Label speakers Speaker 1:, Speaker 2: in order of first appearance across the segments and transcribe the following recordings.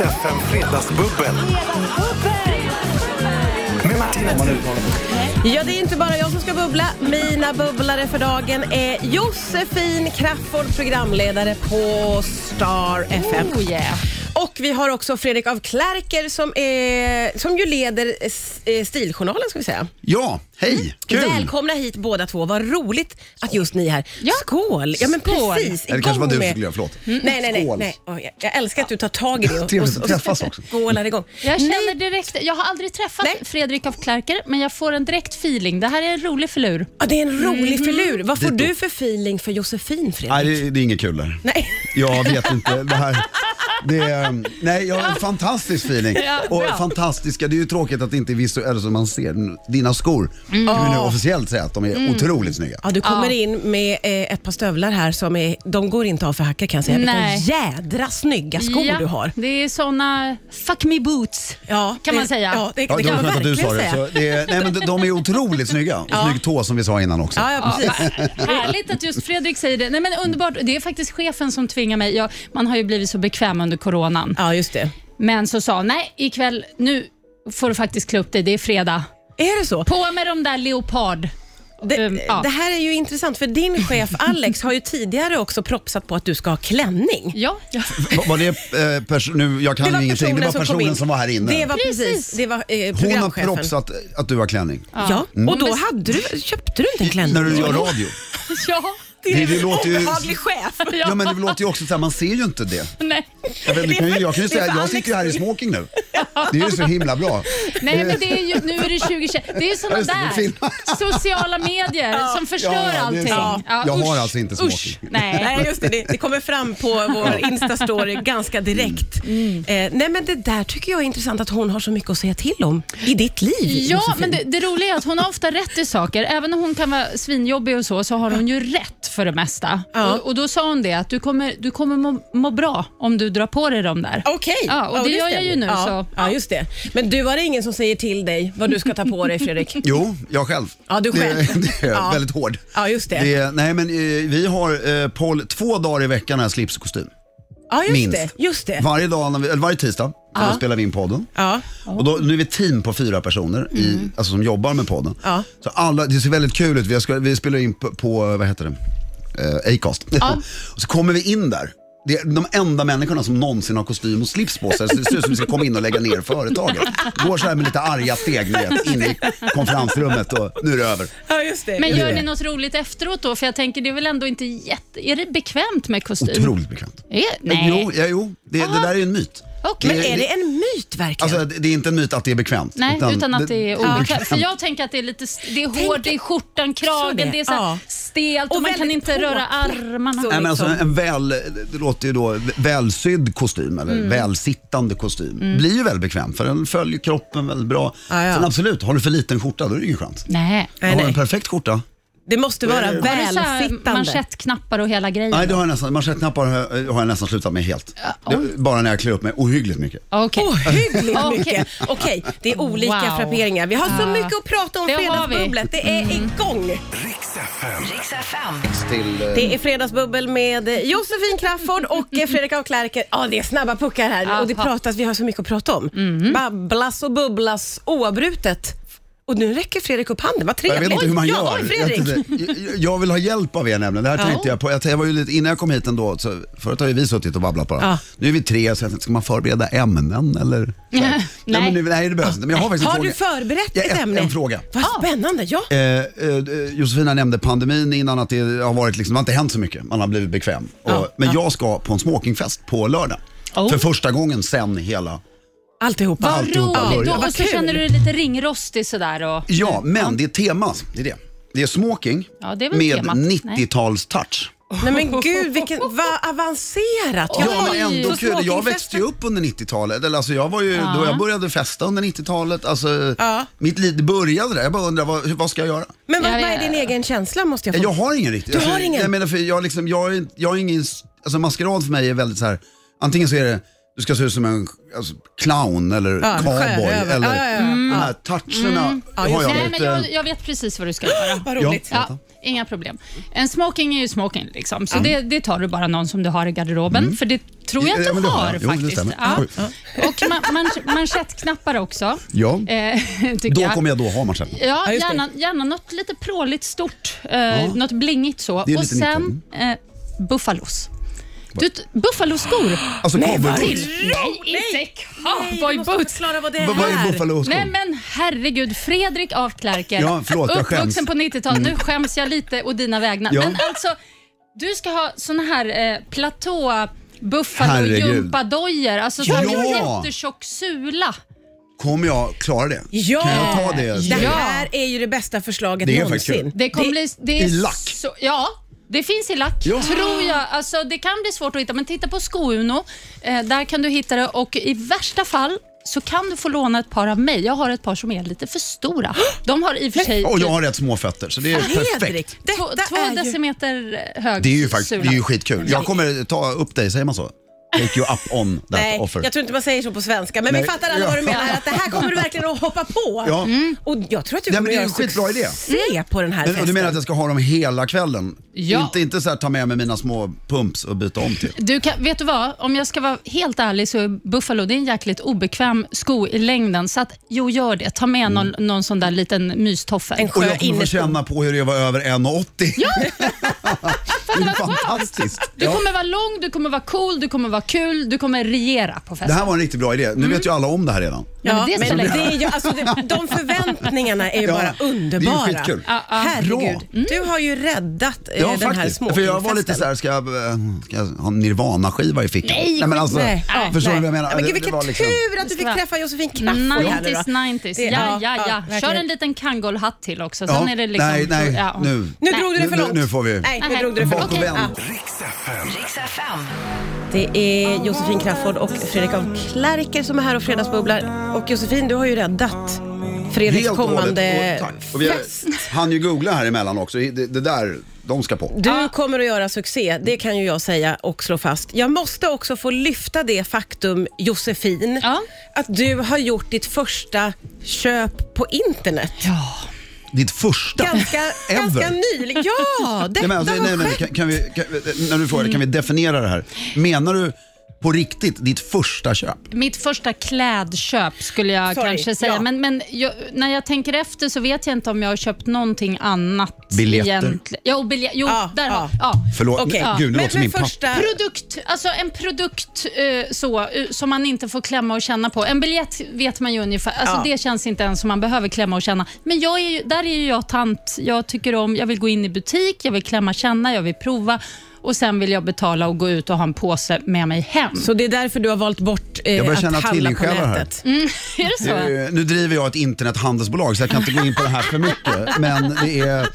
Speaker 1: FM Fredagsbubbel med Martina Thun.
Speaker 2: Ja, det är inte bara jag som ska bubbla. Mina bubblare för dagen är Josefin Crafoord, programledare på Star FM.
Speaker 3: Oh yeah.
Speaker 2: Och vi har också Fredrik af Klerker som, är, som ju leder eh, s- eh, Stiljournalen, ska vi säga.
Speaker 4: Ja,
Speaker 2: Mm.
Speaker 4: hej!
Speaker 2: Välkomna hit båda två. Vad roligt att just ni är här.
Speaker 3: Ja.
Speaker 2: Skål! Ja, men
Speaker 3: Skål.
Speaker 2: precis.
Speaker 4: Eller det kanske var
Speaker 2: Igång
Speaker 4: du som
Speaker 2: med- Mm.
Speaker 4: skulle göra, förlåt.
Speaker 2: Nej, nej, nej.
Speaker 4: Skål.
Speaker 2: nej. Oj, jag- jag älskar att du tar tag i det och,
Speaker 4: Trevligt att
Speaker 2: och, och
Speaker 4: träffas också.
Speaker 2: skålar igång.
Speaker 3: Jag
Speaker 2: Ni-
Speaker 3: känner direkt, jag har aldrig träffat
Speaker 2: Nej.
Speaker 3: Fredrik af Klerker, men jag får en direkt feeling. Det här är en rolig filur.
Speaker 2: Ja, det är en rolig
Speaker 3: Mm.
Speaker 2: filur. Vad får
Speaker 4: Dito.
Speaker 2: du för feeling för Josefin, Fredrik?
Speaker 4: Nej, det, det är inget kul där.
Speaker 2: Nej.
Speaker 4: Jag vet inte. Det här, det är, nej, jag har en fantastisk feeling.
Speaker 3: Ja,
Speaker 4: och
Speaker 3: bra.
Speaker 4: fantastiska, det är ju tråkigt att det inte är visuellt som man ser. Dina skor, kan vi nu officiellt säga att de är otroligt snygga.
Speaker 2: Mm. Ja, du kommer in med eh, ett par stövlar här som är, de går inte av för hackor kan jag säga.
Speaker 3: Nej.
Speaker 2: Vilka jädra snygga skor
Speaker 3: ja,
Speaker 2: du har.
Speaker 3: Det är såna fuck me boots.
Speaker 2: Ja,
Speaker 3: Kan
Speaker 2: det,
Speaker 3: man säga.
Speaker 2: Ja, det, det
Speaker 4: Ja, det
Speaker 2: kan
Speaker 4: var
Speaker 2: man
Speaker 4: skönt att du
Speaker 2: verkligen
Speaker 4: sa det.
Speaker 2: säga.
Speaker 4: Så det är, nej, men de- de är otroligt snygga. Och snygg tå som vi sa innan också.
Speaker 2: Ja, ja, precis.
Speaker 3: Härligt att just Fredrik säger det. Nej, men underbart. Det är faktiskt chefen som tvingar mig. Jag, man har ju blivit så bekväm under coronan.
Speaker 2: Ja, just det.
Speaker 3: Men så sa han, nej ikväll, nu får du faktiskt klä upp dig. Det är fredag.
Speaker 2: Är det så?
Speaker 3: På med de där leopard.
Speaker 2: Det,
Speaker 3: Um, ja.
Speaker 2: det här är ju intressant för din chef Alex har ju tidigare också propsat på att du ska ha klänning.
Speaker 3: Ja, ja.
Speaker 4: Var- Var det, eh, pers- nu, jag kan ingenting, det var
Speaker 2: kom
Speaker 4: personen som,
Speaker 2: in.
Speaker 4: var här inne.
Speaker 2: Det var precis,
Speaker 3: Precis.
Speaker 2: det var eh,
Speaker 4: Hon har
Speaker 2: programchefen.
Speaker 4: propsat att du har klänning.
Speaker 2: Ja, och då hade du, köpte du inte en klänning?
Speaker 4: När du gör radio.
Speaker 3: ja.
Speaker 4: Det, det låter ju...
Speaker 2: Obehaglig chef.
Speaker 4: Ja men det låter ju också så här, man ser ju inte det.
Speaker 3: Nej.
Speaker 4: Jag, vet, du kan ju, jag kan ju
Speaker 2: Det är
Speaker 4: säga,
Speaker 2: för
Speaker 4: jag
Speaker 2: Alex
Speaker 4: sitter ju här i smoking nu. Det är ju så himla bra.
Speaker 3: Nej, men det är ju, nu är det 2020. Det är ju såna
Speaker 4: Just det, det
Speaker 3: där
Speaker 4: filmar.
Speaker 3: sociala medier som förstör
Speaker 4: Ja, det är
Speaker 3: allting.
Speaker 4: sant. Jag har alltså inte smaken.
Speaker 3: usch. Nej.
Speaker 2: Nej, just det. Det, det kommer fram på vår Insta-story ganska direkt.
Speaker 3: Mm.
Speaker 2: Eh, nej, men det där tycker jag är intressant att hon har så mycket att säga till om i ditt liv.
Speaker 3: Ja,
Speaker 2: Josefin.
Speaker 3: men det, det roliga är att hon har ofta rätt i saker. Även om hon kan vara svinjobbig och så, så har hon ju rätt för det mesta.
Speaker 2: Ja.
Speaker 3: Och, och Då sa hon det att du kommer, du kommer må, må bra om du drar på dig de där.
Speaker 2: Okej.
Speaker 3: Ja, och det gör jag
Speaker 2: stämmer.
Speaker 3: ju nu,
Speaker 2: Ja,
Speaker 3: så-
Speaker 2: ja, just det. Men du har ingen som säger till dig vad du ska ta på dig, Fredrik?
Speaker 4: Jo, jag själv.
Speaker 2: Ja, du själv.
Speaker 4: Det, det är
Speaker 2: Ja.
Speaker 4: väldigt hård.
Speaker 2: Ja, just det.
Speaker 4: är- nej men eh, vi har eh, poll två dagar i veckan här, slips och kostym.
Speaker 2: Ja, just
Speaker 4: Minst.
Speaker 2: det. Just det.
Speaker 4: Varje, dag när vi, eller varje tisdag när vi spelar vi in podden.
Speaker 2: Ja.
Speaker 4: Och då, nu är vi ett team på fyra personer
Speaker 3: Mm.
Speaker 4: i, alltså, som jobbar med podden.
Speaker 2: Ja.
Speaker 4: Så alla, det ser väldigt kul ut. Vi, ska, vi spelar in på, på vad heter det? Eh, Acast. och så kommer vi in där. Det är de enda människorna som någonsin har kostym och slips på sig. Så det ser ut som att vi ska komma in och lägga ner företaget. Går så här med lite arga steg ni vet, in i konferensrummet och nu är det över.
Speaker 2: ja, just det.
Speaker 3: Men
Speaker 4: det
Speaker 3: gör
Speaker 4: är
Speaker 3: ni
Speaker 4: det.
Speaker 3: något roligt efteråt då? För jag tänker, det är väl ändå inte jätte... Är det bekvämt med kostym?
Speaker 4: Otroligt bekvämt.
Speaker 3: Är, nej.
Speaker 4: Jo, ja, jo. Det, det där är ju en myt.
Speaker 3: Okej.
Speaker 2: men är det en myt verkligen?
Speaker 4: Alltså, det det är inte en myt att det är bekvämt.
Speaker 3: Nej, utan, att det är obekvämt. För
Speaker 4: obekvämt.
Speaker 3: jag tänker att det är lite det är hårt,
Speaker 2: Tänk-
Speaker 3: det är skjortan,
Speaker 2: Så
Speaker 3: kragen,
Speaker 2: det,
Speaker 3: det är så här
Speaker 2: ja.
Speaker 3: stelt och,
Speaker 2: Och
Speaker 3: man kan
Speaker 2: väldigt
Speaker 3: inte
Speaker 2: hårt.
Speaker 3: röra armarna.
Speaker 2: Så-
Speaker 4: Nej, men alltså
Speaker 2: liksom.
Speaker 4: en väl, det låter ju då välsydd kostym eller
Speaker 2: Mm.
Speaker 4: välsittande kostym blir ju väldigt bekväm för den följer kroppen väldigt bra.
Speaker 2: Ja, ja.
Speaker 4: Sen absolut, har du för liten skjorta då är det ingen chans.
Speaker 3: Nej.
Speaker 2: Nej,
Speaker 4: har du
Speaker 2: nej.
Speaker 4: en perfekt skjorta?
Speaker 2: det måste vara
Speaker 3: Har du så här
Speaker 2: välsittande.
Speaker 3: manschettknappar och hela grejen?
Speaker 4: Nej, det har jag nästan, manschettknappar har jag- eh, har jag nästan slutat med helt. Det, bara när jag klär upp mig ohyggligt mycket.
Speaker 3: Okej.
Speaker 2: Ohyggligt
Speaker 3: Okej.
Speaker 2: mycket. Okej, det är olika
Speaker 3: Wow.
Speaker 2: frapperingar. Vi har så mycket att prata om.
Speaker 3: Det har vi. Mm.
Speaker 2: Fredagsbubblet, det är igång.
Speaker 1: Riks FM.
Speaker 4: Till, eh,
Speaker 2: Det är fredagsbubbel med Josefin Crafoord och eh, Fredrik af Klerker. Ja, det är snabba puckar här och det
Speaker 3: Aha. Mhm.
Speaker 2: pratas, vi har så mycket att prata om. Babblas och bubblas oavbrutet. Och nu räcker Fredrik upp handen, vad
Speaker 4: jag
Speaker 2: trevligt.
Speaker 4: vet inte hur man
Speaker 2: ja,
Speaker 4: gör.
Speaker 2: Oj,
Speaker 4: jag,
Speaker 2: Fredrik.
Speaker 4: vet inte. Jag- jag vill ha hjälp av er nämligen. Det här tänkte jag på. Jag, jag var ju lite, innan jag kom hit ändå, så, förut har ju vi suttit och babblat bara.
Speaker 2: Ja.
Speaker 4: Nu är vi tre, så jag tänkte, ska man förbereda ämnen eller? Så här. nej. men nu, nej, det behövs inte. Men jag har faktiskt en
Speaker 2: Har
Speaker 4: fråga.
Speaker 2: du förberett
Speaker 4: Ja,
Speaker 2: ett
Speaker 4: en-
Speaker 2: ämne?
Speaker 4: En fråga.
Speaker 2: Vad
Speaker 3: Ah.
Speaker 2: spännande. Ja.
Speaker 4: Eh, eh, Josefina nämnde pandemin innan att det har varit liksom, det har inte hänt så mycket. Man har blivit bekväm. Och, men jag ska på en smokingfest på lördag.
Speaker 3: Oh.
Speaker 4: För första gången sen hela...
Speaker 2: Alltihopa.
Speaker 3: Vad
Speaker 4: Alltihopa
Speaker 3: roligt.
Speaker 4: börjar.
Speaker 3: Då, och
Speaker 2: Vad
Speaker 3: så
Speaker 2: kul.
Speaker 3: känner du dig lite ringrostig sådär. Och,
Speaker 4: Ja, men det är tema. Det är det. Det är smoking
Speaker 3: Mm. Ja, det är väl
Speaker 4: med
Speaker 3: temat. Nej.
Speaker 4: 90-tals-touch.
Speaker 2: Nej men gud, vilken, vad avancerat.
Speaker 4: Ja,
Speaker 2: Jaha,
Speaker 4: men ändå
Speaker 2: så
Speaker 4: kul. Jag
Speaker 2: smokingfesten-
Speaker 4: växte ju upp under 90-talet. Eller, Alltså, jag var ju, Då jag började festa under 90-talet. Alltså,
Speaker 2: Ja.
Speaker 4: Mitt liv började där. Jag bara undrar, vad, hur- vad ska jag göra?
Speaker 2: Men vad,
Speaker 3: Ja,
Speaker 2: vad
Speaker 3: ja,
Speaker 2: är din
Speaker 3: ja.
Speaker 2: egen känsla måste jag få
Speaker 4: Jag har ingen riktigt.
Speaker 2: Du har ingen?
Speaker 4: alltså, Jag menar, för jag, liksom, jag, är- jag är ingen... Alltså maskerad för mig är väldigt så här. antingen så är det Du ska se ut som en alltså, clown eller
Speaker 2: Ja, en
Speaker 4: cowboy.
Speaker 2: sjörövare.
Speaker 4: Eller,
Speaker 2: Ja, ja, ja. Mm.
Speaker 4: De här toucherna har jag
Speaker 3: Nej,
Speaker 4: varit...
Speaker 3: men
Speaker 4: eh,
Speaker 3: jag, jag vet precis vad du ska göra.
Speaker 2: Vad
Speaker 4: ja,
Speaker 2: roligt.
Speaker 3: Ja, inga problem. En smoking är ju smoking, liksom. så det, det tar du bara någon som du har i garderoben. För det tror jag
Speaker 4: Mm. Ja,
Speaker 3: att
Speaker 4: men
Speaker 3: du
Speaker 4: det har
Speaker 3: har
Speaker 4: jag. Jo, det
Speaker 3: faktiskt.
Speaker 4: stämmer.
Speaker 3: ja.
Speaker 4: Oj.
Speaker 3: Och man, man, manschettknappar också.
Speaker 4: Ja.
Speaker 3: Eh, tycker
Speaker 4: Då
Speaker 3: jag.
Speaker 4: kommer jag då ha matchen.
Speaker 3: Ja,
Speaker 2: Ja, just det.
Speaker 3: gärna, gärna något lite pråligt stort. Eh, Något blingigt så.
Speaker 4: Det är
Speaker 3: Och
Speaker 4: lite
Speaker 3: sen eh, buffalos. Du, t- buffaloskor.
Speaker 4: Alltså cowboyboots.
Speaker 3: Nej, inte
Speaker 2: Du måste
Speaker 3: cowboyboots.
Speaker 2: förklara vad det
Speaker 4: Vad vad är
Speaker 2: är.
Speaker 4: buffaloskor?
Speaker 3: Nej men herregud, Fredrik af Klerker.
Speaker 4: Ja, förlåt, jag
Speaker 3: Uppvuxen
Speaker 4: skäms. Mm.
Speaker 3: på 90-talet. Nu skäms jag lite och dina vägnar.
Speaker 4: Ja.
Speaker 3: Men alltså, du ska ha såna här eh, platå buffalo
Speaker 4: Herregud.
Speaker 3: gympadojor alltså ja.
Speaker 4: Ja.
Speaker 3: en jättetjock sula.
Speaker 4: Kommer jag klara det?
Speaker 2: Ja!
Speaker 4: Kan jag ta det?
Speaker 2: Det
Speaker 3: Ja.
Speaker 2: här är ju det bästa förslaget
Speaker 4: Det är faktiskt
Speaker 2: någonsin.
Speaker 3: Det kommer bli... Det är
Speaker 4: i lack.
Speaker 3: Så, ja, det finns i lack,
Speaker 4: Ja.
Speaker 3: tror jag. Alltså, det kan bli svårt att hitta, men titta på Skouno. Eh, där kan du hitta det och i värsta fall så kan du få låna ett par av mig. Jag har ett par som är lite för stora. De har i och för sig
Speaker 4: Och jag har rätt små fötter så det är perfekt.
Speaker 2: Fredrik,
Speaker 3: två,
Speaker 2: detta
Speaker 3: två
Speaker 2: är ju...
Speaker 3: decimeter eh, hög
Speaker 4: Det är ju faktiskt
Speaker 3: sula.
Speaker 4: det är ju skitkul. Jag kommer ta upp dig, säger man så? Take you up on that
Speaker 2: Nej,
Speaker 4: offer.
Speaker 2: jag tror inte man säger så på svenska, men
Speaker 4: Nej.
Speaker 2: vi fattar alla
Speaker 4: Ja.
Speaker 2: vad du menar. Att det här kommer du verkligen att hoppa på. Mm.
Speaker 4: Ja.
Speaker 2: Och jag tror att du
Speaker 4: Nej, men
Speaker 2: kommer
Speaker 4: det är
Speaker 2: göra
Speaker 4: en skitbra idé.
Speaker 3: Mm.
Speaker 2: Se på den här
Speaker 4: Men, och du
Speaker 2: festen.
Speaker 4: menar att jag ska ha dem hela kvällen?
Speaker 3: Ja.
Speaker 4: Inte, inte så här, ta med mig mina små pumps och byta om till.
Speaker 3: Du kan, vet du vad? Om jag ska vara helt ärlig så är Buffalo det är en jäkligt obekväm sko i längden. Så att, jo, gör det. Ta med någon, någon sån där liten mystoffel.
Speaker 2: En
Speaker 4: Och
Speaker 2: sjö
Speaker 4: jag kommer få
Speaker 2: inne
Speaker 4: känna på hur det var över 1,80. Ja. det är fantastiskt.
Speaker 3: Du
Speaker 4: Ja.
Speaker 3: kommer vara lång, du kommer vara cool, du kommer vara kul, du kommer regera på
Speaker 4: Det
Speaker 3: festen.
Speaker 4: här var en riktigt bra idé. Nu
Speaker 2: Mm.
Speaker 4: vet ju alla om det här redan.
Speaker 2: Ja,
Speaker 3: Men det
Speaker 2: men
Speaker 3: spelar
Speaker 2: det
Speaker 3: ingen
Speaker 2: är ju, alltså, det, de förväntningarna är ju
Speaker 4: Ja,
Speaker 2: bara
Speaker 4: det är ju
Speaker 2: underbara.
Speaker 4: skitkul. Ja,
Speaker 3: ja. Mm.
Speaker 2: Herregud,
Speaker 4: Bra.
Speaker 2: du har ju räddat eh, den här
Speaker 4: För
Speaker 2: småkingfesten.
Speaker 4: jag var lite så här, ska jag, eh, ska jag ha en Nirvana-skiva i fickan?
Speaker 3: Nej,
Speaker 4: men alltså,
Speaker 2: Nej, ja,
Speaker 4: förstår
Speaker 2: nej.
Speaker 4: du vad jag menar?
Speaker 2: Ja, men gud,
Speaker 4: Det- det
Speaker 2: vilken
Speaker 4: var liksom-
Speaker 2: tur att du fick
Speaker 3: Ja.
Speaker 2: träffa Josefin Crafoord här nu
Speaker 3: 90s,
Speaker 2: då.
Speaker 3: 90s.
Speaker 2: Det-
Speaker 3: Mm. Ja, ja, ja. Kör
Speaker 2: verkligen.
Speaker 3: en liten kangolhatt till också. Sen
Speaker 4: Ja,
Speaker 3: är det liksom...
Speaker 4: nej, nej,
Speaker 3: ja.
Speaker 4: nu.
Speaker 2: Nu drog du det
Speaker 4: Nu-
Speaker 2: för långt.
Speaker 4: nu får vi-
Speaker 2: Nej, nu
Speaker 3: Nej.
Speaker 2: drog du det för långt.
Speaker 4: Bakåtvänd.
Speaker 2: Ja.
Speaker 1: Riks FM.
Speaker 5: Riks FM.
Speaker 2: Det är Josefin Crafoord och Fredrik af Klerker som är här och fredagsbubblar. Och Josefin, du har ju räddat Fredriks
Speaker 4: Helt och hållet.
Speaker 2: kommande
Speaker 4: Och tack. Och vi har- han ju googla här emellan också. Det, det där, de ska på.
Speaker 2: Du kommer att göra succé, det kan ju jag säga och slå fast. Jag måste också få lyfta det faktum, Josefin,
Speaker 3: Ja.
Speaker 2: att du har gjort ditt första köp på internet.
Speaker 4: Ditt första.
Speaker 2: Ganska,
Speaker 4: Ever.
Speaker 2: ganska nyligen. Ja, detta
Speaker 4: Nej, men alltså,
Speaker 2: har
Speaker 4: nej, nej,
Speaker 2: skett.
Speaker 4: kan, kan vi, kan, när du frågar, kan vi definiera det här? Menar du på riktigt ditt första köp?
Speaker 3: Mitt första klädköp skulle jag
Speaker 2: Sorry,
Speaker 3: kanske säga.
Speaker 2: ja.
Speaker 3: Men, men jag, när jag tänker efter så vet jag inte om jag har köpt någonting annat.
Speaker 4: Biljetter.
Speaker 3: egentligen. Ja, och bilje- jo,
Speaker 2: Ja,
Speaker 3: där
Speaker 2: ja.
Speaker 3: har ja.
Speaker 4: Förlåt,
Speaker 2: Okej.
Speaker 4: men, gud det
Speaker 2: men,
Speaker 4: låter som
Speaker 2: men
Speaker 4: min pappa.
Speaker 2: första...
Speaker 3: Produkt, alltså en produkt eh, så, eh, som man inte får klämma och känna på. En biljett vet man ju ungefär, alltså
Speaker 2: Ja.
Speaker 3: det känns inte ens som man behöver klämma och känna. Men jag är ju, där är ju jag tant. Jag tycker om, jag vill gå in i butik, jag vill klämma och känna, jag vill prova och sen vill jag betala och gå ut och ha en påse med mig hem.
Speaker 2: Så det är därför du har valt bort eh,
Speaker 4: börjar
Speaker 2: att
Speaker 4: känna
Speaker 2: handla på
Speaker 4: tvillingsjälar här.
Speaker 2: nätet?
Speaker 3: är det så?
Speaker 4: Eh, Nu driver jag ett internethandelsbolag så jag kan inte gå in på det här för mycket. Men det är...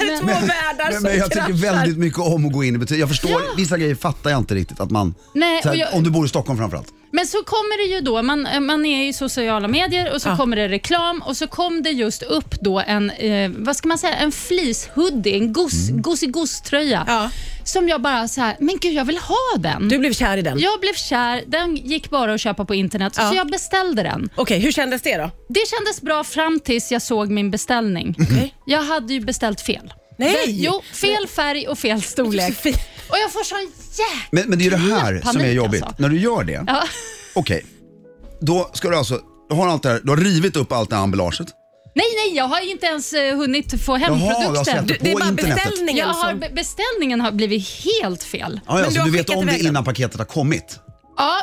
Speaker 2: Det är två världar
Speaker 4: Men,
Speaker 2: som
Speaker 4: men jag tycker
Speaker 2: kraschar.
Speaker 4: väldigt mycket om att gå in i butik. Jag förstår, vissa grejer fattar jag inte riktigt att man...
Speaker 3: Nej,
Speaker 4: så här,
Speaker 3: och jag-
Speaker 4: Om du bor i Stockholm framförallt.
Speaker 3: Men så kommer det ju då, man, eh, man är i sociala medier och så kommer det reklam och så kom det just upp då en, eh, vad ska man säga, en fleecehoodie, en gos, gosigoströja.
Speaker 2: Ja.
Speaker 3: Som jag bara så här, men gud jag vill ha den.
Speaker 2: Du blev kär i den.
Speaker 3: Jag blev kär, den gick bara att köpa på internet
Speaker 2: Ja.
Speaker 3: så jag beställde den.
Speaker 2: Okej, hur kändes det
Speaker 4: Mm.
Speaker 2: då?
Speaker 3: Det kändes bra fram tills jag såg min beställning. Jag hade ju beställt fel.
Speaker 2: Nej!
Speaker 3: Det- Jo, fel färg och fel storlek.
Speaker 2: Josefin.
Speaker 3: Och jag får sån jäkla
Speaker 4: Men, men det är ju det här som är
Speaker 3: panik,
Speaker 4: jobbigt.
Speaker 3: alltså.
Speaker 4: När du gör det,
Speaker 3: Ja.
Speaker 4: okej. Då ska du alltså... Du har, allt det här, du har rivit upp allt det här emballaget.
Speaker 3: Nej, nej, jag har inte ens eh, hunnit få hem
Speaker 4: Jaha, jag har
Speaker 3: produkten.
Speaker 4: sett
Speaker 2: Du,
Speaker 4: det på
Speaker 2: det är bara
Speaker 4: internetet.
Speaker 2: beställningen
Speaker 3: Jag har,
Speaker 2: som...
Speaker 3: be- beställningen har blivit helt fel.
Speaker 4: Ja, ja,
Speaker 2: Men
Speaker 4: så
Speaker 2: du har
Speaker 4: du vet
Speaker 2: skickat
Speaker 4: om det
Speaker 2: iväg dem.
Speaker 4: innan paketet har kommit.
Speaker 3: Ja,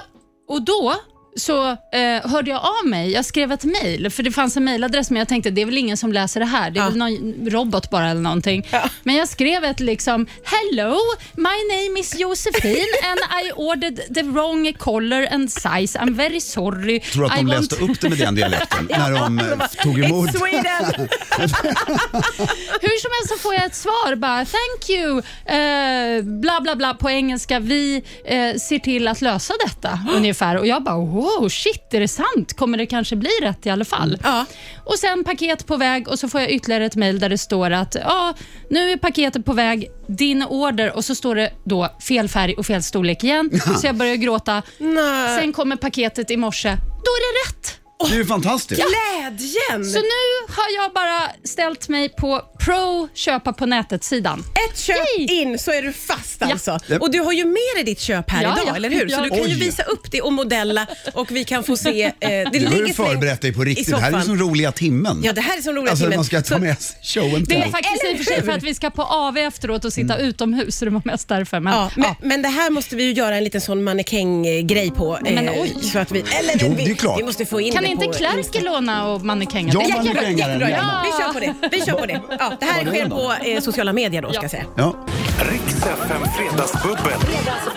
Speaker 3: och då så eh, hörde jag av mig. Jag skrev ett mejl, för det fanns en mejladress, men jag tänkte det är väl ingen som läser det här. Det är
Speaker 2: Ja.
Speaker 3: väl någon robot bara eller någonting. Men jag skrev ett liksom “Hello, my name is Josefin and I ordered the wrong color and size. I'm very sorry.
Speaker 4: Tror du att
Speaker 3: I
Speaker 4: de
Speaker 3: want-
Speaker 4: läste upp det med den dialekten när de eh, tog emot?
Speaker 2: It's Sweden!
Speaker 3: Hur som helst så får jag ett svar bara “Thank you”, eh, bla bla bla på engelska. Vi eh, ser till att lösa detta ungefär. Och jag bara “Wow”. wow, shit, är det sant? Kommer det kanske bli rätt i alla fall?
Speaker 2: Ja.
Speaker 3: Och sen paket på väg och så får jag ytterligare ett mejl där det står att ja, nu är paketet på väg, din order och så står det då fel färg och fel storlek igen. Så jag börjar gråta.
Speaker 2: Nej.
Speaker 3: Sen kommer paketet i morse, då är det rätt.
Speaker 4: Det är ju fantastiskt.
Speaker 2: Glädjen!
Speaker 3: Så nu har jag bara ställt mig på pro köpa på nätet-sidan.
Speaker 2: Ett köp
Speaker 3: Yay!
Speaker 2: in så är du fast
Speaker 3: Ja.
Speaker 2: alltså.
Speaker 4: Japp.
Speaker 2: Och du har ju med dig ditt köp här
Speaker 3: Ja,
Speaker 2: idag,
Speaker 3: ja.
Speaker 2: eller hur? Så
Speaker 3: Ja.
Speaker 2: du kan ju
Speaker 4: Oj.
Speaker 2: visa upp det och modella och vi kan få se. Eh, det
Speaker 4: Nu har
Speaker 2: ligger
Speaker 4: du förberett dig på
Speaker 2: i
Speaker 4: riktigt. Det här är ju
Speaker 2: soffan.
Speaker 4: som roliga timmen.
Speaker 2: Ja, det här är som roliga
Speaker 4: Alltså
Speaker 2: timmen.
Speaker 4: man ska ta
Speaker 2: Så-
Speaker 4: med sig showen
Speaker 3: Det är
Speaker 4: till.
Speaker 3: faktiskt i och för sig för att vi ska på AV efteråt och sitta utomhus, så det var mest därför. Men,
Speaker 2: Mm. Ja,
Speaker 3: ja,
Speaker 2: men, men det här måste vi ju göra en liten sån mannekänggrej på. eh,
Speaker 3: Men oj.
Speaker 2: Så att vi, eller,
Speaker 4: Jo,
Speaker 2: vi,
Speaker 4: det är klart.
Speaker 2: Vi måste få in
Speaker 3: Kan
Speaker 2: det
Speaker 3: inte
Speaker 2: på
Speaker 3: Klerker låna och mannekänga?
Speaker 4: Ja,
Speaker 3: Det är
Speaker 4: man-
Speaker 3: jättebra.
Speaker 2: Jättebra,
Speaker 4: pengar
Speaker 2: jättebra.
Speaker 4: gärna.
Speaker 2: Vi kör på det. Vi kör på det. Ja, det här
Speaker 4: Vad
Speaker 2: sker
Speaker 4: är det
Speaker 2: på eh, sociala medier då, ska jag säga.
Speaker 4: Ja,
Speaker 1: Riks FM Fredagsbubbel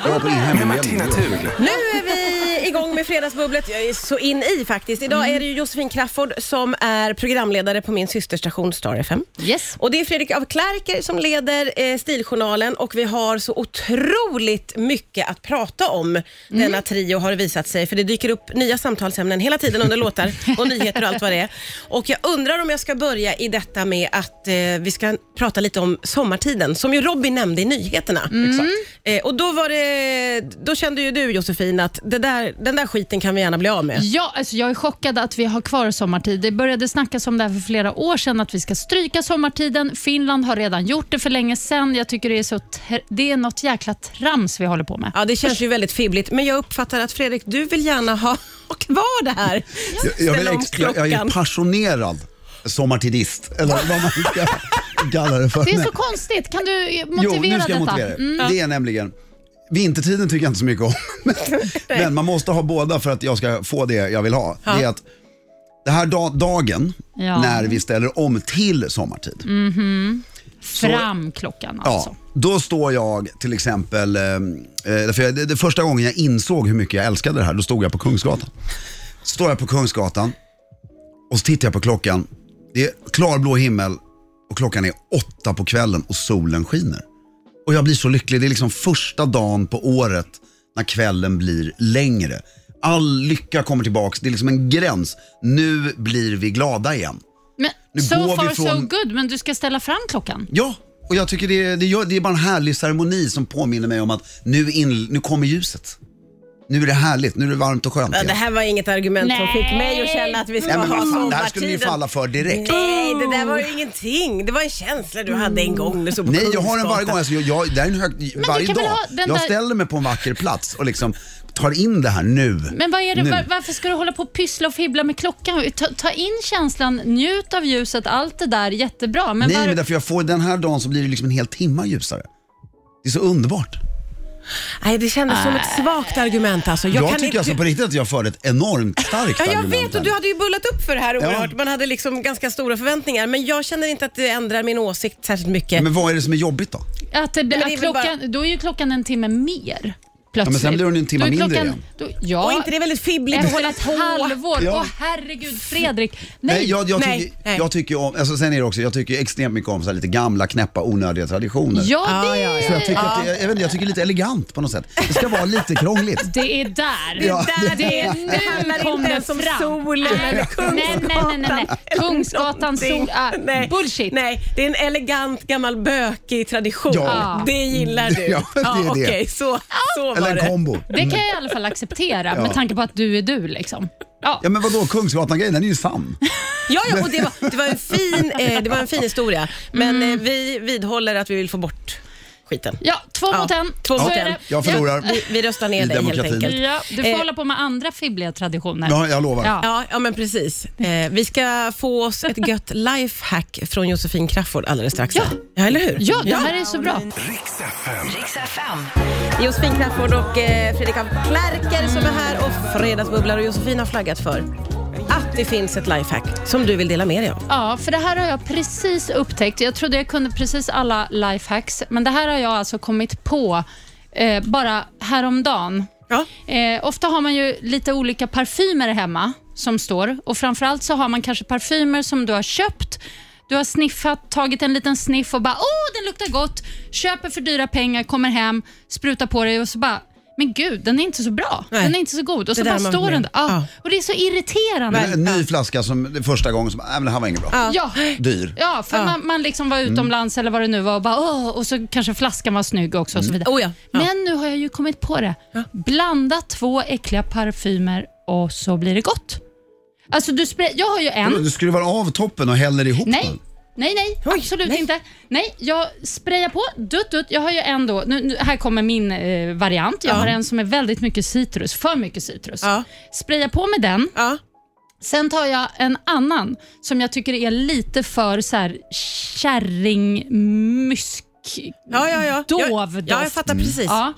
Speaker 4: jag på din
Speaker 1: med
Speaker 4: hemma
Speaker 1: Martina Thun.
Speaker 2: Nu är vi igång med Fredagsbubblet. Jag är så in i faktiskt. Idag
Speaker 3: Mm.
Speaker 2: är det ju Josefin Crafoord som är programledare på min systerstation Star FM.
Speaker 3: Yes.
Speaker 2: Och det är Fredrik af Klerker som leder eh, Stiljournalen och vi har så otroligt mycket att prata om denna trio har det visat sig. För det dyker upp nya samtalsämnen hela tiden under låtar och nyheter och allt vad det är. Och jag undrar om jag ska börja i detta med att eh, vi ska prata lite om sommartiden som ju Robin nämnde i nyheterna. Eh, och då, var det, då kände ju du Josefin att det där, den där skiten kan vi gärna bli av med.
Speaker 3: Ja, alltså jag är chockad att vi har kvar sommartid. Det började snackas om det här för flera år sedan, att vi ska stryka sommartiden. Finland har redan gjort det för länge sedan. Jag tycker det är, så tr- det är något jäkla trams vi håller på med.
Speaker 2: Ja, det känns ju väldigt fibbligt, men jag uppfattar att Fredrik, du vill gärna ha, ha kvar det här.
Speaker 4: Jag, jag, vill
Speaker 2: Ställa om
Speaker 4: ex- jag, jag är
Speaker 2: klockan.
Speaker 4: passionerad sommartidist, eller vad man ska kalla det för.
Speaker 3: Det är
Speaker 4: Men-
Speaker 3: så konstigt. Kan du eh, motivera
Speaker 4: Jo, nu ska jag
Speaker 3: detta? Mm.
Speaker 4: motivera det. Det är nämligen, vintertiden tycker jag inte så mycket om. Men, men man måste ha båda för att jag ska få det jag vill ha. Det är att det här da- dagen
Speaker 3: Ja.
Speaker 4: när vi ställer om till sommartid.
Speaker 3: Fram klockan alltså.
Speaker 4: Ja, då står jag till exempel, eh, eh, för jag, det, det första gången jag insåg hur mycket jag älskade det här, då stod jag på Kungsgatan. Står jag på Kungsgatan och så tittar jag på klockan. Det är klarblå himmel och klockan är åtta på kvällen och solen skiner. Och jag blir så lycklig. Det är liksom första dagen på året när kvällen blir längre. All lycka kommer tillbaks. Det är liksom en gräns. Nu blir vi glada igen.
Speaker 3: Men,
Speaker 4: Nu går
Speaker 3: so
Speaker 4: vi
Speaker 3: far so
Speaker 4: från-
Speaker 3: good, men du ska ställa fram klockan.
Speaker 4: Ja, och jag tycker det, det, gör, det är bara en härlig ceremoni som påminner mig om att nu, in, nu kommer ljuset. Nu är det härligt, nu är det varmt och skönt.
Speaker 2: Ja, det
Speaker 4: igen.
Speaker 2: här var inget argument som
Speaker 3: Nej.
Speaker 2: fick mig att känna att vi ska
Speaker 4: Nej, men
Speaker 2: ha
Speaker 4: vad fan,
Speaker 2: sommartiden.
Speaker 4: det här skulle ni ju falla för direkt.
Speaker 2: Nej, det där var ju ingenting. Det var en känsla du hade en gång när du stod på
Speaker 4: Nej, jag har den varje gång.
Speaker 2: Kungsgatan.
Speaker 4: Alltså, jag, jag, det här är en hög,
Speaker 3: du
Speaker 4: varje
Speaker 3: kan väl
Speaker 4: dag.
Speaker 3: ha den
Speaker 4: Jag
Speaker 3: där-
Speaker 4: ställer mig på en vacker plats och liksom tar in det här nu.
Speaker 3: Men vad är det,
Speaker 4: Nu.
Speaker 3: var, varför ska du hålla på och pyssla och fibbla med klockan? Ta, ta in känslan, njut av ljuset, allt det där jättebra. Men
Speaker 4: Nej,
Speaker 3: var,
Speaker 4: men därför jag får den här dagen så blir det liksom en hel timma ljusare. Det är så underbart.
Speaker 2: Nej, det kändes som ett svagt argument alltså.
Speaker 4: Jag,
Speaker 2: kan
Speaker 4: tycker
Speaker 2: inte-
Speaker 4: alltså på riktigt att jag för ett enormt starkt
Speaker 2: Ja, jag
Speaker 4: argument.
Speaker 2: vet och
Speaker 4: här.
Speaker 2: du hade ju bullat upp för det här
Speaker 4: Ja.
Speaker 2: oerhört. Man hade liksom ganska stora förväntningar men jag känner inte att det ändrar min åsikt särskilt mycket.
Speaker 4: Men vad är det som är jobbigt då?
Speaker 3: Att, det,
Speaker 2: det är
Speaker 3: att
Speaker 2: väl
Speaker 3: klockan, Då är ju klockan en timme mer. Plötsligt.
Speaker 4: Ja, men sen blir hon ju en timme
Speaker 3: Då är
Speaker 4: mindre
Speaker 3: klockan-
Speaker 4: igen.
Speaker 3: Då, ja,
Speaker 2: och inte det är väldigt fibbligt att
Speaker 3: efter
Speaker 2: hålla
Speaker 3: ett
Speaker 2: på.
Speaker 3: halvår.
Speaker 4: Ja.
Speaker 3: Åh herregud Fredrik. Nej,
Speaker 4: Nej, jag, jag,
Speaker 2: Nej,
Speaker 4: tycker,
Speaker 2: nej.
Speaker 4: jag tycker om, alltså sen är det också, jag tycker extremt mycket om så här lite gamla, knäppa, onödiga traditioner.
Speaker 3: ja, det,
Speaker 2: Ja, Ah, ja, ja.
Speaker 4: Så jag tycker, att det, jag, vet, inte, jag tycker det är lite elegant på något sätt. Det ska vara lite krångligt.
Speaker 3: det är där.
Speaker 4: Ja.
Speaker 2: Där det,
Speaker 3: Det
Speaker 2: är-
Speaker 3: är
Speaker 2: det handlar inte
Speaker 3: kommer
Speaker 2: ens om
Speaker 3: fram.
Speaker 2: solen eller Kungsgatan.
Speaker 3: Nej, nej, nej, nej, nej.
Speaker 2: eller
Speaker 3: Kungsgatan, sol-
Speaker 2: någonting.
Speaker 3: ah,
Speaker 2: nej,
Speaker 3: bullshit.
Speaker 2: Nej, det är en elegant gammal bökig tradition.
Speaker 4: Ja.
Speaker 2: Det gillar du.
Speaker 4: Ja, det är det.
Speaker 2: Okej, så, så var
Speaker 4: Eller en
Speaker 2: det.
Speaker 4: kombo.
Speaker 3: Det kan jag i alla fall acceptera med tanke på att du är du. Liksom. Ja.
Speaker 4: Ja men vadå, Kungsgatan-grejen den är ju sann.
Speaker 2: Ja, ja, och det, var, det, var en fin, eh, det var en fin historia, men
Speaker 4: Mm.
Speaker 2: eh, vi vidhåller att vi vill få bort skiten.
Speaker 3: Ja, två
Speaker 2: Ja,
Speaker 3: mot en.
Speaker 2: två
Speaker 3: Så
Speaker 2: mot
Speaker 3: är
Speaker 2: en.
Speaker 3: det.
Speaker 4: Jag förlorar.
Speaker 2: Vi, vi röstar ner
Speaker 4: I
Speaker 2: dig helt
Speaker 4: demokratin.
Speaker 2: enkelt.
Speaker 3: Ja, du får
Speaker 2: Eh,
Speaker 3: hålla på med andra fibbliga traditioner.
Speaker 4: Ja, jag lovar.
Speaker 3: Ja.
Speaker 2: Ja, ja men precis. Eh, vi ska få oss ett gött lifehack från Josefin Crafoord alldeles strax.
Speaker 3: Ja.
Speaker 2: ja eller hur?
Speaker 3: Ja, det här är så bra.
Speaker 1: Riks FM.
Speaker 5: Riks FM.
Speaker 2: Josefin Crafoord och eh, Fredrik af Klerker som är här och Fredagsbubblar och Josefin har flaggat för att det finns ett lifehack som du vill dela med dig av.
Speaker 3: Ja, för det här har jag precis upptäckt. Jag trodde jag kunde precis alla lifehacks, men det här har jag alltså kommit på eh, bara häromdagen.
Speaker 2: Ja.
Speaker 3: Eh, ofta har man ju lite olika parfymer hemma som står och framförallt så har man kanske parfymer som du har köpt du har sniffat, tagit en liten sniff och bara åh, den luktar gott. Köper för dyra pengar, kommer hem, sprutar på dig och så bara men gud, den är inte så bra.
Speaker 2: Nej.
Speaker 3: Den är inte så god. Och så
Speaker 2: Det där
Speaker 3: bara
Speaker 2: man
Speaker 3: står den
Speaker 2: med.
Speaker 3: där. Ja.
Speaker 2: Ja.
Speaker 3: Och det är så irriterande.
Speaker 4: En ny flaska som det är första gången som, nej men det här var inget bra.
Speaker 3: Ja.
Speaker 4: Dyr.
Speaker 3: Ja, för Man, man liksom
Speaker 2: Mm.
Speaker 3: var utomlands eller vad det nu var och bara åh, och så kanske flaskan var snygg också och så vidare.
Speaker 2: Oh ja, ja.
Speaker 3: Men nu har jag ju kommit på det. Blanda två äckliga parfymer och så blir det gott. Alltså du spray, jag har ju en.
Speaker 4: Du skruvar av toppen och häller ihop
Speaker 3: Nej,
Speaker 4: den.
Speaker 3: nej, nej,
Speaker 2: Mm. Oj,
Speaker 3: absolut
Speaker 2: nej.
Speaker 3: inte. Nej, jag sprayar på, dutt, dutt. Jag har ju en då, nu, nu, här kommer min eh, variant. Jag har en som är väldigt mycket citrus, för mycket citrus.
Speaker 2: Ja.
Speaker 3: Sprayar på med den.
Speaker 2: Ja.
Speaker 3: Sen tar jag en annan som jag tycker är lite för så här kärringmysk.
Speaker 2: Ja, ja, ja.
Speaker 3: Dov
Speaker 2: jag, ja, jag
Speaker 3: doft.
Speaker 2: fattar precis.
Speaker 3: Ja.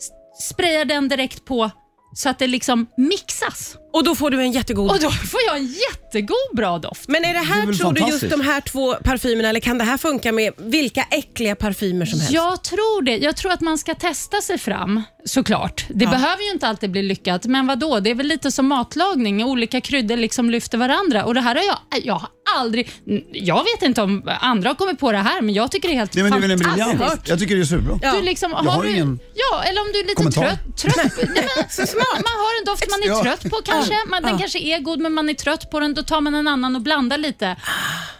Speaker 3: S- Sprayar den direkt på så att det liksom mixas.
Speaker 2: Och då får du en jättegod...
Speaker 3: Och då får jag en jättegod bra doft.
Speaker 2: Men är det
Speaker 4: Det är
Speaker 2: här,
Speaker 4: väl
Speaker 2: tror du, just
Speaker 4: fantastiskt.
Speaker 2: de här två parfymerna eller kan det här funka med vilka äckliga parfymer som helst?
Speaker 3: Jag tror det. Jag tror att man ska testa sig fram, såklart. Det behöver ju inte alltid bli lyckat, men vad då? Det är väl lite som matlagning. Olika kryddor liksom lyfter varandra. Och det här har jag, äh, jag har aldrig... Jag vet inte om andra har kommit på det här, men jag tycker det är helt
Speaker 4: Nej men det är väl en
Speaker 3: fantastiskt.
Speaker 4: briljant. Jag tycker det är superbra.
Speaker 3: Du liksom, har,
Speaker 4: har
Speaker 3: du,
Speaker 4: ingen
Speaker 3: Ja, eller om du är lite
Speaker 4: kommentar.
Speaker 3: trött. trött nej, men, alltså, man, man har en doft man är
Speaker 4: Ja.
Speaker 3: trött på kanske. Man, den kanske är god, men man är trött på den. Då tar man en annan och blandar lite.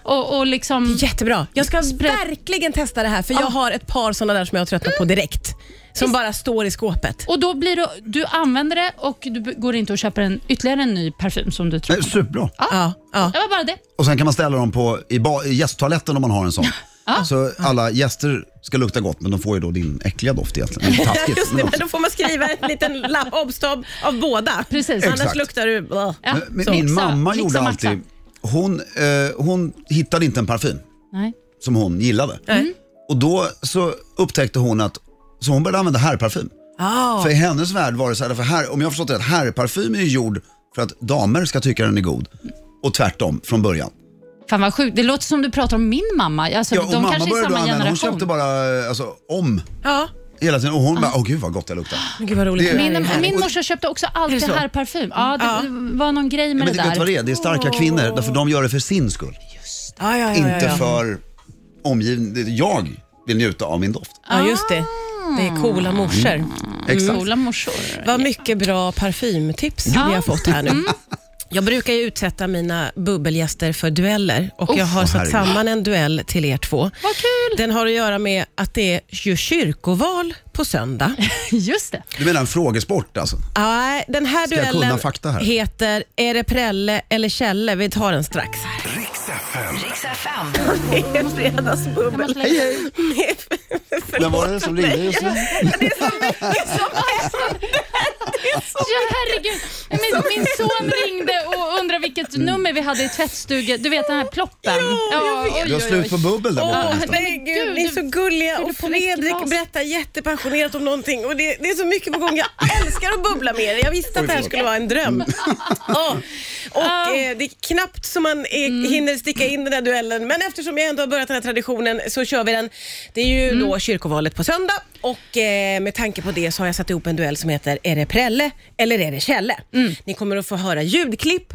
Speaker 3: Och, och liksom...
Speaker 2: Jättebra. Jag ska verkligen testa det här för jag har ett par sådana där som jag har tröttnat på direkt. Som bara står i skåpet.
Speaker 3: Och då blir det, du använder det och du b- går inte och köper en, ytterligare en ny parfym som du tror.
Speaker 4: Nej, superbra.
Speaker 2: Ja, ja.
Speaker 3: Det var bara det.
Speaker 4: Och sen kan man ställa dem på, i, ba, i gästtoaletten om man har en sån. Så alla gäster ska lukta gott men de får ju då din äckliga doft egentligen. Det är
Speaker 2: Ja,
Speaker 4: Taskigt.
Speaker 2: just det,
Speaker 4: men
Speaker 2: men
Speaker 4: också-
Speaker 2: då får man skriva en liten lapp, obstab av båda.
Speaker 3: Precis.
Speaker 2: Annars
Speaker 4: Exakt.
Speaker 2: luktar du... Blah.
Speaker 3: Ja,
Speaker 4: Men- men
Speaker 3: så.
Speaker 4: Min
Speaker 3: Mixa,
Speaker 4: mamma
Speaker 3: mixa,
Speaker 4: gjorde
Speaker 3: maxa.
Speaker 4: alltid, hon, eh, hon hittade inte en parfym
Speaker 3: Nej.
Speaker 4: som hon gillade.
Speaker 2: Nej.
Speaker 4: Och då så upptäckte hon att, så hon började använda herrparfym.
Speaker 2: Ah.
Speaker 4: För i hennes värld var det så här, för här, om jag har förstått det rätt, herrparfym är ju gjord för att damer ska tycka den är god. Och tvärtom från början.
Speaker 3: Fan vad sjukt. Det låter som du pratar om min mamma. Alltså,
Speaker 4: Ja,
Speaker 3: de
Speaker 4: och mamma
Speaker 3: kanske är
Speaker 4: började då
Speaker 3: samma
Speaker 4: använda, hon
Speaker 3: generation.
Speaker 4: köpte bara eh, alltså, om
Speaker 2: Ja.
Speaker 4: hela tiden. Och hon bara, åh gud vad gott det luktar.
Speaker 2: Men Gud vad roligt.
Speaker 4: Det-
Speaker 2: Det här är
Speaker 3: Min,
Speaker 2: härligt.
Speaker 3: min morsa köpte också
Speaker 2: Är det
Speaker 3: alltid
Speaker 2: så?
Speaker 3: herrparfym. Ja, det var någon grej med
Speaker 4: Men det,
Speaker 3: det
Speaker 4: vet du vad
Speaker 3: där.
Speaker 4: det är? Det är starka kvinnor, därför de gör det för sin skull.
Speaker 2: ja, ja, ja, ja,
Speaker 4: Inte
Speaker 2: ja.
Speaker 4: för omgivningen. Det är Jag vill njuta av min doft.
Speaker 2: Ja, just det. Det är coola morsor.
Speaker 4: Exakt.
Speaker 3: Coola morsor.
Speaker 2: Vad mycket bra parfymtips vi har fått här nu. Jag brukar ju utsätta mina bubbelgäster för dueller och jag har
Speaker 4: Åh,
Speaker 2: satt
Speaker 4: herregud.
Speaker 2: samman en duell till er två.
Speaker 3: Vad kul!
Speaker 2: Den har att göra med att det är ju kyrkoval på söndag.
Speaker 3: Just det.
Speaker 4: Du menar en frågesport alltså?
Speaker 2: Nej, den här
Speaker 4: jag kunna
Speaker 2: duellen
Speaker 4: fakta här?
Speaker 2: heter Är det Prelle eller Kjelle? Vi tar den strax.
Speaker 1: Riks FM.
Speaker 5: Riks FM.
Speaker 2: Det är Fredagsbubbel.
Speaker 4: Hej hej! Vem var det som ringde just nu?
Speaker 3: Ja, herregud. Min, min son ringde och undrade vilket
Speaker 4: Mm.
Speaker 3: nummer vi hade i tvättstugan. Du vet den här ploppen. Ja, oj,
Speaker 4: Du har
Speaker 3: oj,
Speaker 4: slut
Speaker 3: oj.
Speaker 4: på bubbel där borta.
Speaker 2: Åh,
Speaker 4: nästan.
Speaker 2: men gud,
Speaker 3: Gud,
Speaker 2: ni är så
Speaker 3: du
Speaker 2: gulliga
Speaker 3: fyller
Speaker 2: och
Speaker 3: på mycket
Speaker 2: Fredrik
Speaker 3: vas.
Speaker 2: berättar jättepassionerat om någonting och det, det är så mycket på gång. Jag älskar att bubbla med er. Jag visste att det här skulle vara en dröm. Ja. Och eh, det är knappt så man eh, hinner sticka in den här duellen men eftersom jag ändå har börjat den här traditionen så kör vi den. Det är ju då kyrkovalet på söndag och eh, med tanke på det så har jag satt ihop en duell som heter Är det Prelle eller är det Kjelle? Ni kommer att få höra ljudklipp.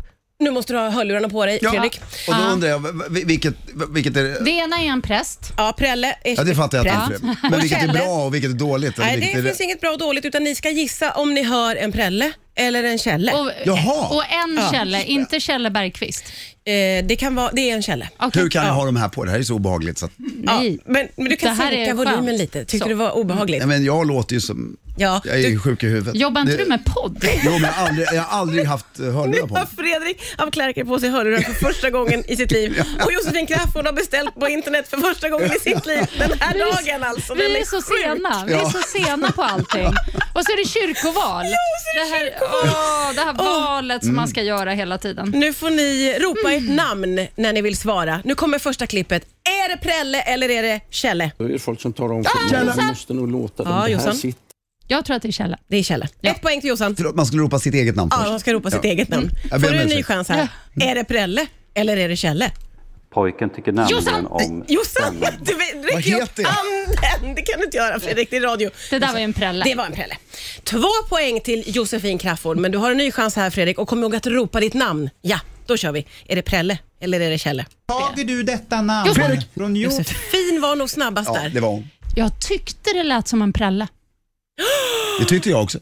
Speaker 2: Nu måste du ha hörlurarna på dig Fredrik.
Speaker 4: Och då undrar jag, v- v- vilket, vilket är det?
Speaker 3: Det ena är en präst.
Speaker 2: Ja, Prelle. är-
Speaker 4: Ja, det fattar jag att det
Speaker 3: Bra.
Speaker 4: inte är. Men
Speaker 2: Och
Speaker 4: vilket är
Speaker 2: Kjelle.
Speaker 4: bra och vilket är dåligt? eller
Speaker 2: Nej,
Speaker 4: vilket
Speaker 2: det
Speaker 4: är
Speaker 2: finns inget bra och dåligt utan ni ska gissa om ni hör en Prelle eller en Kjelle.
Speaker 3: Och,
Speaker 4: Jaha.
Speaker 3: och en Kjelle, inte Kjelle Bergqvist.
Speaker 2: Eh, det, kan vara, det är en Kjelle.
Speaker 3: Okej.
Speaker 4: Hur kan jag ha de här på? Det här är så obehagligt. Så att,
Speaker 3: Nej.
Speaker 2: Ja, men, men du kan
Speaker 3: Det här är
Speaker 2: sänka volymen
Speaker 3: skönt.
Speaker 2: lite. Tyckte
Speaker 3: Så.
Speaker 2: du det var obehagligt?
Speaker 4: nej, men jag låter ju som...
Speaker 2: Ja,
Speaker 4: jag är ju
Speaker 2: du-
Speaker 4: sjuk i huvudet.
Speaker 3: Jobbar inte
Speaker 4: Det-
Speaker 3: du med podd?
Speaker 4: Jo, men jag har aldrig, jag har aldrig haft eh, hörlurar
Speaker 2: Nu
Speaker 4: på
Speaker 2: har
Speaker 4: mig.
Speaker 2: Fredrik av Klärker på sig hörlurar för första gången i sitt liv. Och Josefin Crafoord har beställt på internet för första gången i sitt liv. Den här dagen alltså. den
Speaker 3: Vi är
Speaker 2: är
Speaker 3: så
Speaker 2: sjuk.
Speaker 3: sena. Vi är
Speaker 4: Ja.
Speaker 3: så sena på allting. Och så är det kyrkoval. det, här, åh, det här valet som man
Speaker 4: Mm.
Speaker 3: ska göra hela tiden.
Speaker 2: Nu får ni ropa ert namn när ni vill svara. Nu kommer första klippet. Är det Prelle eller är det Kjelle?
Speaker 6: Då är det folk som talar om för mig.
Speaker 4: Jossan!
Speaker 6: Du måste nog låta dem.
Speaker 2: Ja,
Speaker 6: det här
Speaker 2: Jossan.
Speaker 6: sitter
Speaker 3: Jag tror att det är Kjelle.
Speaker 2: Det är Kjelle. Ett poäng till Jossan.
Speaker 4: Förlåt, man skulle ropa sitt eget namn
Speaker 2: Ja,
Speaker 4: först.
Speaker 2: de ska ropa sitt eget namn.
Speaker 4: Mm. Jag ber
Speaker 2: Får du
Speaker 4: om
Speaker 2: en ny
Speaker 4: ursäkt.
Speaker 2: chans här. Är det Prelle eller är det Kjelle?
Speaker 7: Pojken tycker nämligen
Speaker 3: Jossan!
Speaker 7: om...
Speaker 2: Jossan, du vet- räcker ju upp
Speaker 4: heter jag?
Speaker 2: handen. Det kan du inte göra Fredrik, det är radio.
Speaker 3: Det där var ju en prälle.
Speaker 2: Alltså, Det var en Prelle. Två poäng till Josefin Crafoord, men du har en ny chans här Fredrik och kom ihåg att ropa ditt namn. Ja, då kör vi. Är det Prelle eller är det Kjelle?
Speaker 8: Tager du detta namn från jord?
Speaker 2: Josefin var nog snabbast
Speaker 4: Ja,
Speaker 2: där.
Speaker 4: det var hon.
Speaker 3: Jag tyckte det lät som en prälle.
Speaker 4: Det tyckte jag också.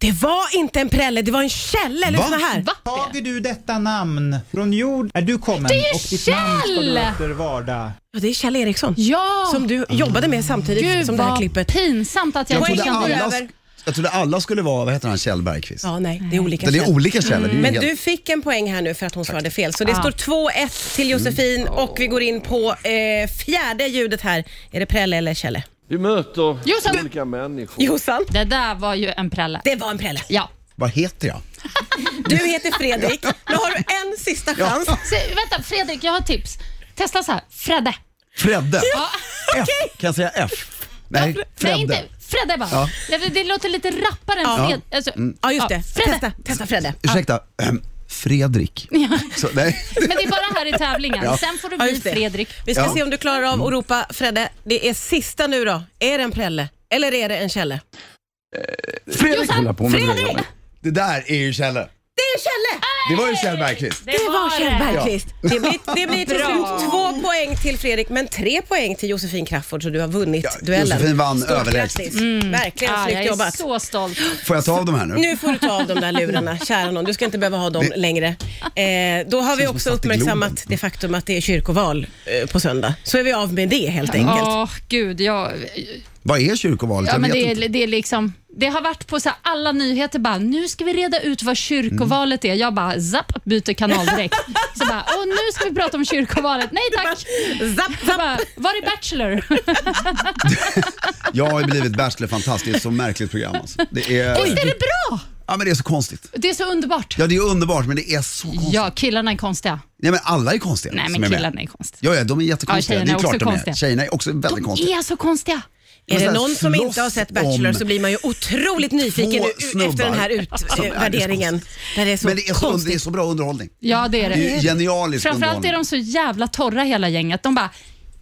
Speaker 2: Det var inte en prälle, det var en källe eller
Speaker 4: Va?
Speaker 2: såna här.
Speaker 3: Va?
Speaker 8: Tager du detta namn, från jord är du kommen
Speaker 3: Det är ju
Speaker 8: och ditt namn ska
Speaker 3: Kjell!
Speaker 8: du efter varda.
Speaker 2: Ja, det är Kjell Eriksson.
Speaker 3: Ja!
Speaker 2: Som du jobbade med samtidigt
Speaker 3: Gud
Speaker 2: som det här
Speaker 3: vad
Speaker 2: klippet.
Speaker 3: pinsamt att jag
Speaker 2: Jag
Speaker 3: fick
Speaker 4: Trodde
Speaker 2: Poängen
Speaker 3: en
Speaker 2: går
Speaker 4: alla,
Speaker 2: över.
Speaker 4: jag trodde alla skulle vara, vad heter han, Kjell Bergqvist?
Speaker 2: Ja, nej, det är olika
Speaker 4: Men det
Speaker 2: Kjell.
Speaker 4: är olika Kjell. det är ju
Speaker 2: Men
Speaker 4: helt-
Speaker 2: du fick en poäng här nu för att hon svarade fel. Så det
Speaker 3: Ah.
Speaker 2: står 2-1 till
Speaker 4: Mm.
Speaker 2: Josefin och vi går in på eh, fjärde ljudet här. Är det prälle eller källe?
Speaker 5: Vi möter
Speaker 3: Josef!
Speaker 5: olika människor.
Speaker 2: Jossan?
Speaker 3: Det där var ju en prälle.
Speaker 2: Det var en prälle.
Speaker 3: Ja.
Speaker 4: Vad heter jag?
Speaker 2: Du heter Fredrik. Nu har du en sista chans.
Speaker 3: Se, vänta, Fredrik, jag har ett tips. Testa så här. Fredde.
Speaker 4: Fredde.
Speaker 3: Ja.
Speaker 4: F. Kan jag säga F? Nej, Fredde.
Speaker 3: Nej, inte Fredde bara.
Speaker 4: Ja.
Speaker 3: Ja. Det, det låter lite rappare än Fred. Alltså,
Speaker 2: Ja, just det.
Speaker 3: Fredde.
Speaker 2: Testa, testa Fredde.
Speaker 4: Ursäkta, ehm, Fredrik. Så, nej.
Speaker 3: Men det är bara här i tävlingen.
Speaker 4: Ja.
Speaker 3: Sen får du
Speaker 2: Ja,
Speaker 3: bli
Speaker 2: just det.
Speaker 3: Fredrik.
Speaker 2: Vi ska
Speaker 4: Ja. Mm.
Speaker 2: se om du klarar av att ropa Fredde. Det är sista nu då. Är det en prälle eller är det en källe?
Speaker 5: Fredrik!
Speaker 3: Jossan, Fredrik!
Speaker 4: Det där är ju Kjelle.
Speaker 2: Det är en källe!
Speaker 4: Det var ju Kjell Bergqvist.
Speaker 2: Det var Kjell
Speaker 3: det.
Speaker 2: Bergqvist. Det blir, det blir till slut två poäng till Fredrik, men tre poäng till Josefin Crafoord, så du har vunnit duellen.
Speaker 4: Josefin vann
Speaker 2: Stort
Speaker 4: överlägset.
Speaker 2: grattis. Verkligen
Speaker 3: Mm. Ja, jag
Speaker 2: snyggt
Speaker 3: är
Speaker 2: jobbat.
Speaker 3: så stolt.
Speaker 4: Får jag ta av dem här nu?
Speaker 2: Nu får du ta av de där lurarna, kära någon. Du ska inte behöva ha dem längre. Eh, då har vi
Speaker 4: som
Speaker 2: också
Speaker 4: satt i Globen.
Speaker 2: uppmärksammat det faktum att det är kyrkoval eh, på söndag. Så är vi av med det helt enkelt.
Speaker 3: Åh, gud. Jag,
Speaker 4: Vad är kyrkovalet?
Speaker 3: Ja,
Speaker 4: jag
Speaker 3: men
Speaker 4: vet
Speaker 3: det,
Speaker 4: inte.
Speaker 3: är, det, är liksom, det har varit på så här, alla nyheter bara, nu ska vi reda ut vad kyrkovalet är. Jag bara, zapp, byter kanal direkt. Så bara, och nu ska vi prata om kyrkovalet. Nej tack.
Speaker 2: Zapp,
Speaker 3: Jag
Speaker 2: zapp.
Speaker 3: bara, var är Bachelor?
Speaker 4: Jag har ju blivit Bachelor-fantast. Det är ett så märkligt program. Alltså. Det, är,
Speaker 3: Visst är det bra?
Speaker 4: ja, men det är så konstigt.
Speaker 3: Det är så underbart.
Speaker 4: Ja, det är underbart, men det är så konstigt.
Speaker 3: Ja, killarna är konstiga.
Speaker 4: Nej, men alla är konstiga
Speaker 3: Nej,
Speaker 4: som är
Speaker 3: men
Speaker 4: med.
Speaker 3: killarna är konstiga.
Speaker 4: Ja, ja, de är jättekonstiga.
Speaker 3: Ja,
Speaker 4: det
Speaker 3: tjejerna
Speaker 4: är
Speaker 3: är
Speaker 4: klart
Speaker 3: också
Speaker 4: de
Speaker 3: konstiga.
Speaker 4: är. Tjejerna är också väldigt
Speaker 3: De
Speaker 4: konstiga.
Speaker 3: är så konstiga.
Speaker 2: Är det
Speaker 4: Men
Speaker 2: någon som inte
Speaker 4: slåss
Speaker 2: har sett Bachelor
Speaker 4: om
Speaker 2: så blir man ju otroligt nyfiken
Speaker 4: två
Speaker 2: nu- efter
Speaker 4: snubbar.
Speaker 2: den här
Speaker 4: Som är
Speaker 2: utvärderingen. Där det är så
Speaker 4: Men det är, så,
Speaker 2: konstigt.
Speaker 4: det är så bra underhållning.
Speaker 3: Ja, det är
Speaker 4: Det är
Speaker 3: det.
Speaker 4: ju genialisk
Speaker 3: Framförallt är
Speaker 4: underhållning.
Speaker 3: de så jävla torra hela gänget. De bara,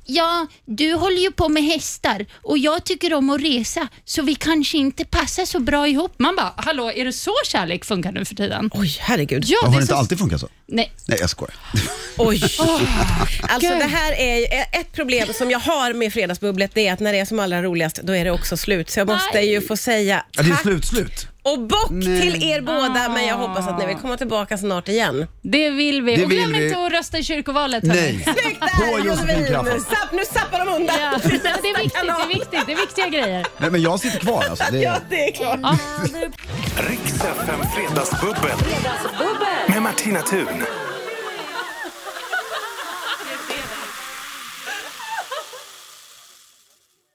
Speaker 3: ja, du håller ju på med hästar och jag tycker om att resa, så vi kanske inte passar så bra ihop. Man bara, hallå, är det så kärlek funkar nu för tiden?
Speaker 2: Oj, herregud.
Speaker 3: Ja,
Speaker 4: Ja,
Speaker 3: det
Speaker 4: har
Speaker 3: är
Speaker 4: det inte
Speaker 3: så...
Speaker 4: alltid funkat så?
Speaker 3: Nej.
Speaker 4: Nej, jag skojar.
Speaker 2: Oj. alltså
Speaker 3: Gud.
Speaker 2: det här är ju eh, ett problem som jag har med Fredagsbubblet. Det är att när det är som allra roligast, då är det också slut. Så jag måste
Speaker 3: Nej.
Speaker 2: ju få säga
Speaker 4: Ja, det är
Speaker 2: tack
Speaker 4: slut, slut.
Speaker 2: och bock
Speaker 4: Nej.
Speaker 2: till er båda. Men jag hoppas att ni vill komma tillbaka snart igen.
Speaker 3: Det vill vi.
Speaker 4: Det
Speaker 3: och glöm
Speaker 4: vill vi.
Speaker 3: inte att rösta i kyrkovalet. hörni.
Speaker 4: Nej.
Speaker 2: Snyggt
Speaker 4: På
Speaker 2: där
Speaker 4: Josefin
Speaker 2: Josefin!
Speaker 4: Crafoord.
Speaker 2: Zapp, nu zappar de undan.
Speaker 3: Ja, det är viktigt, det är viktigt, det är viktiga grejer.
Speaker 4: Nej, men jag sitter kvar alltså. Det
Speaker 2: Ja,
Speaker 4: är...
Speaker 2: det är klart.
Speaker 1: Riks FM Fredagsbubbel. Med Martina Thun.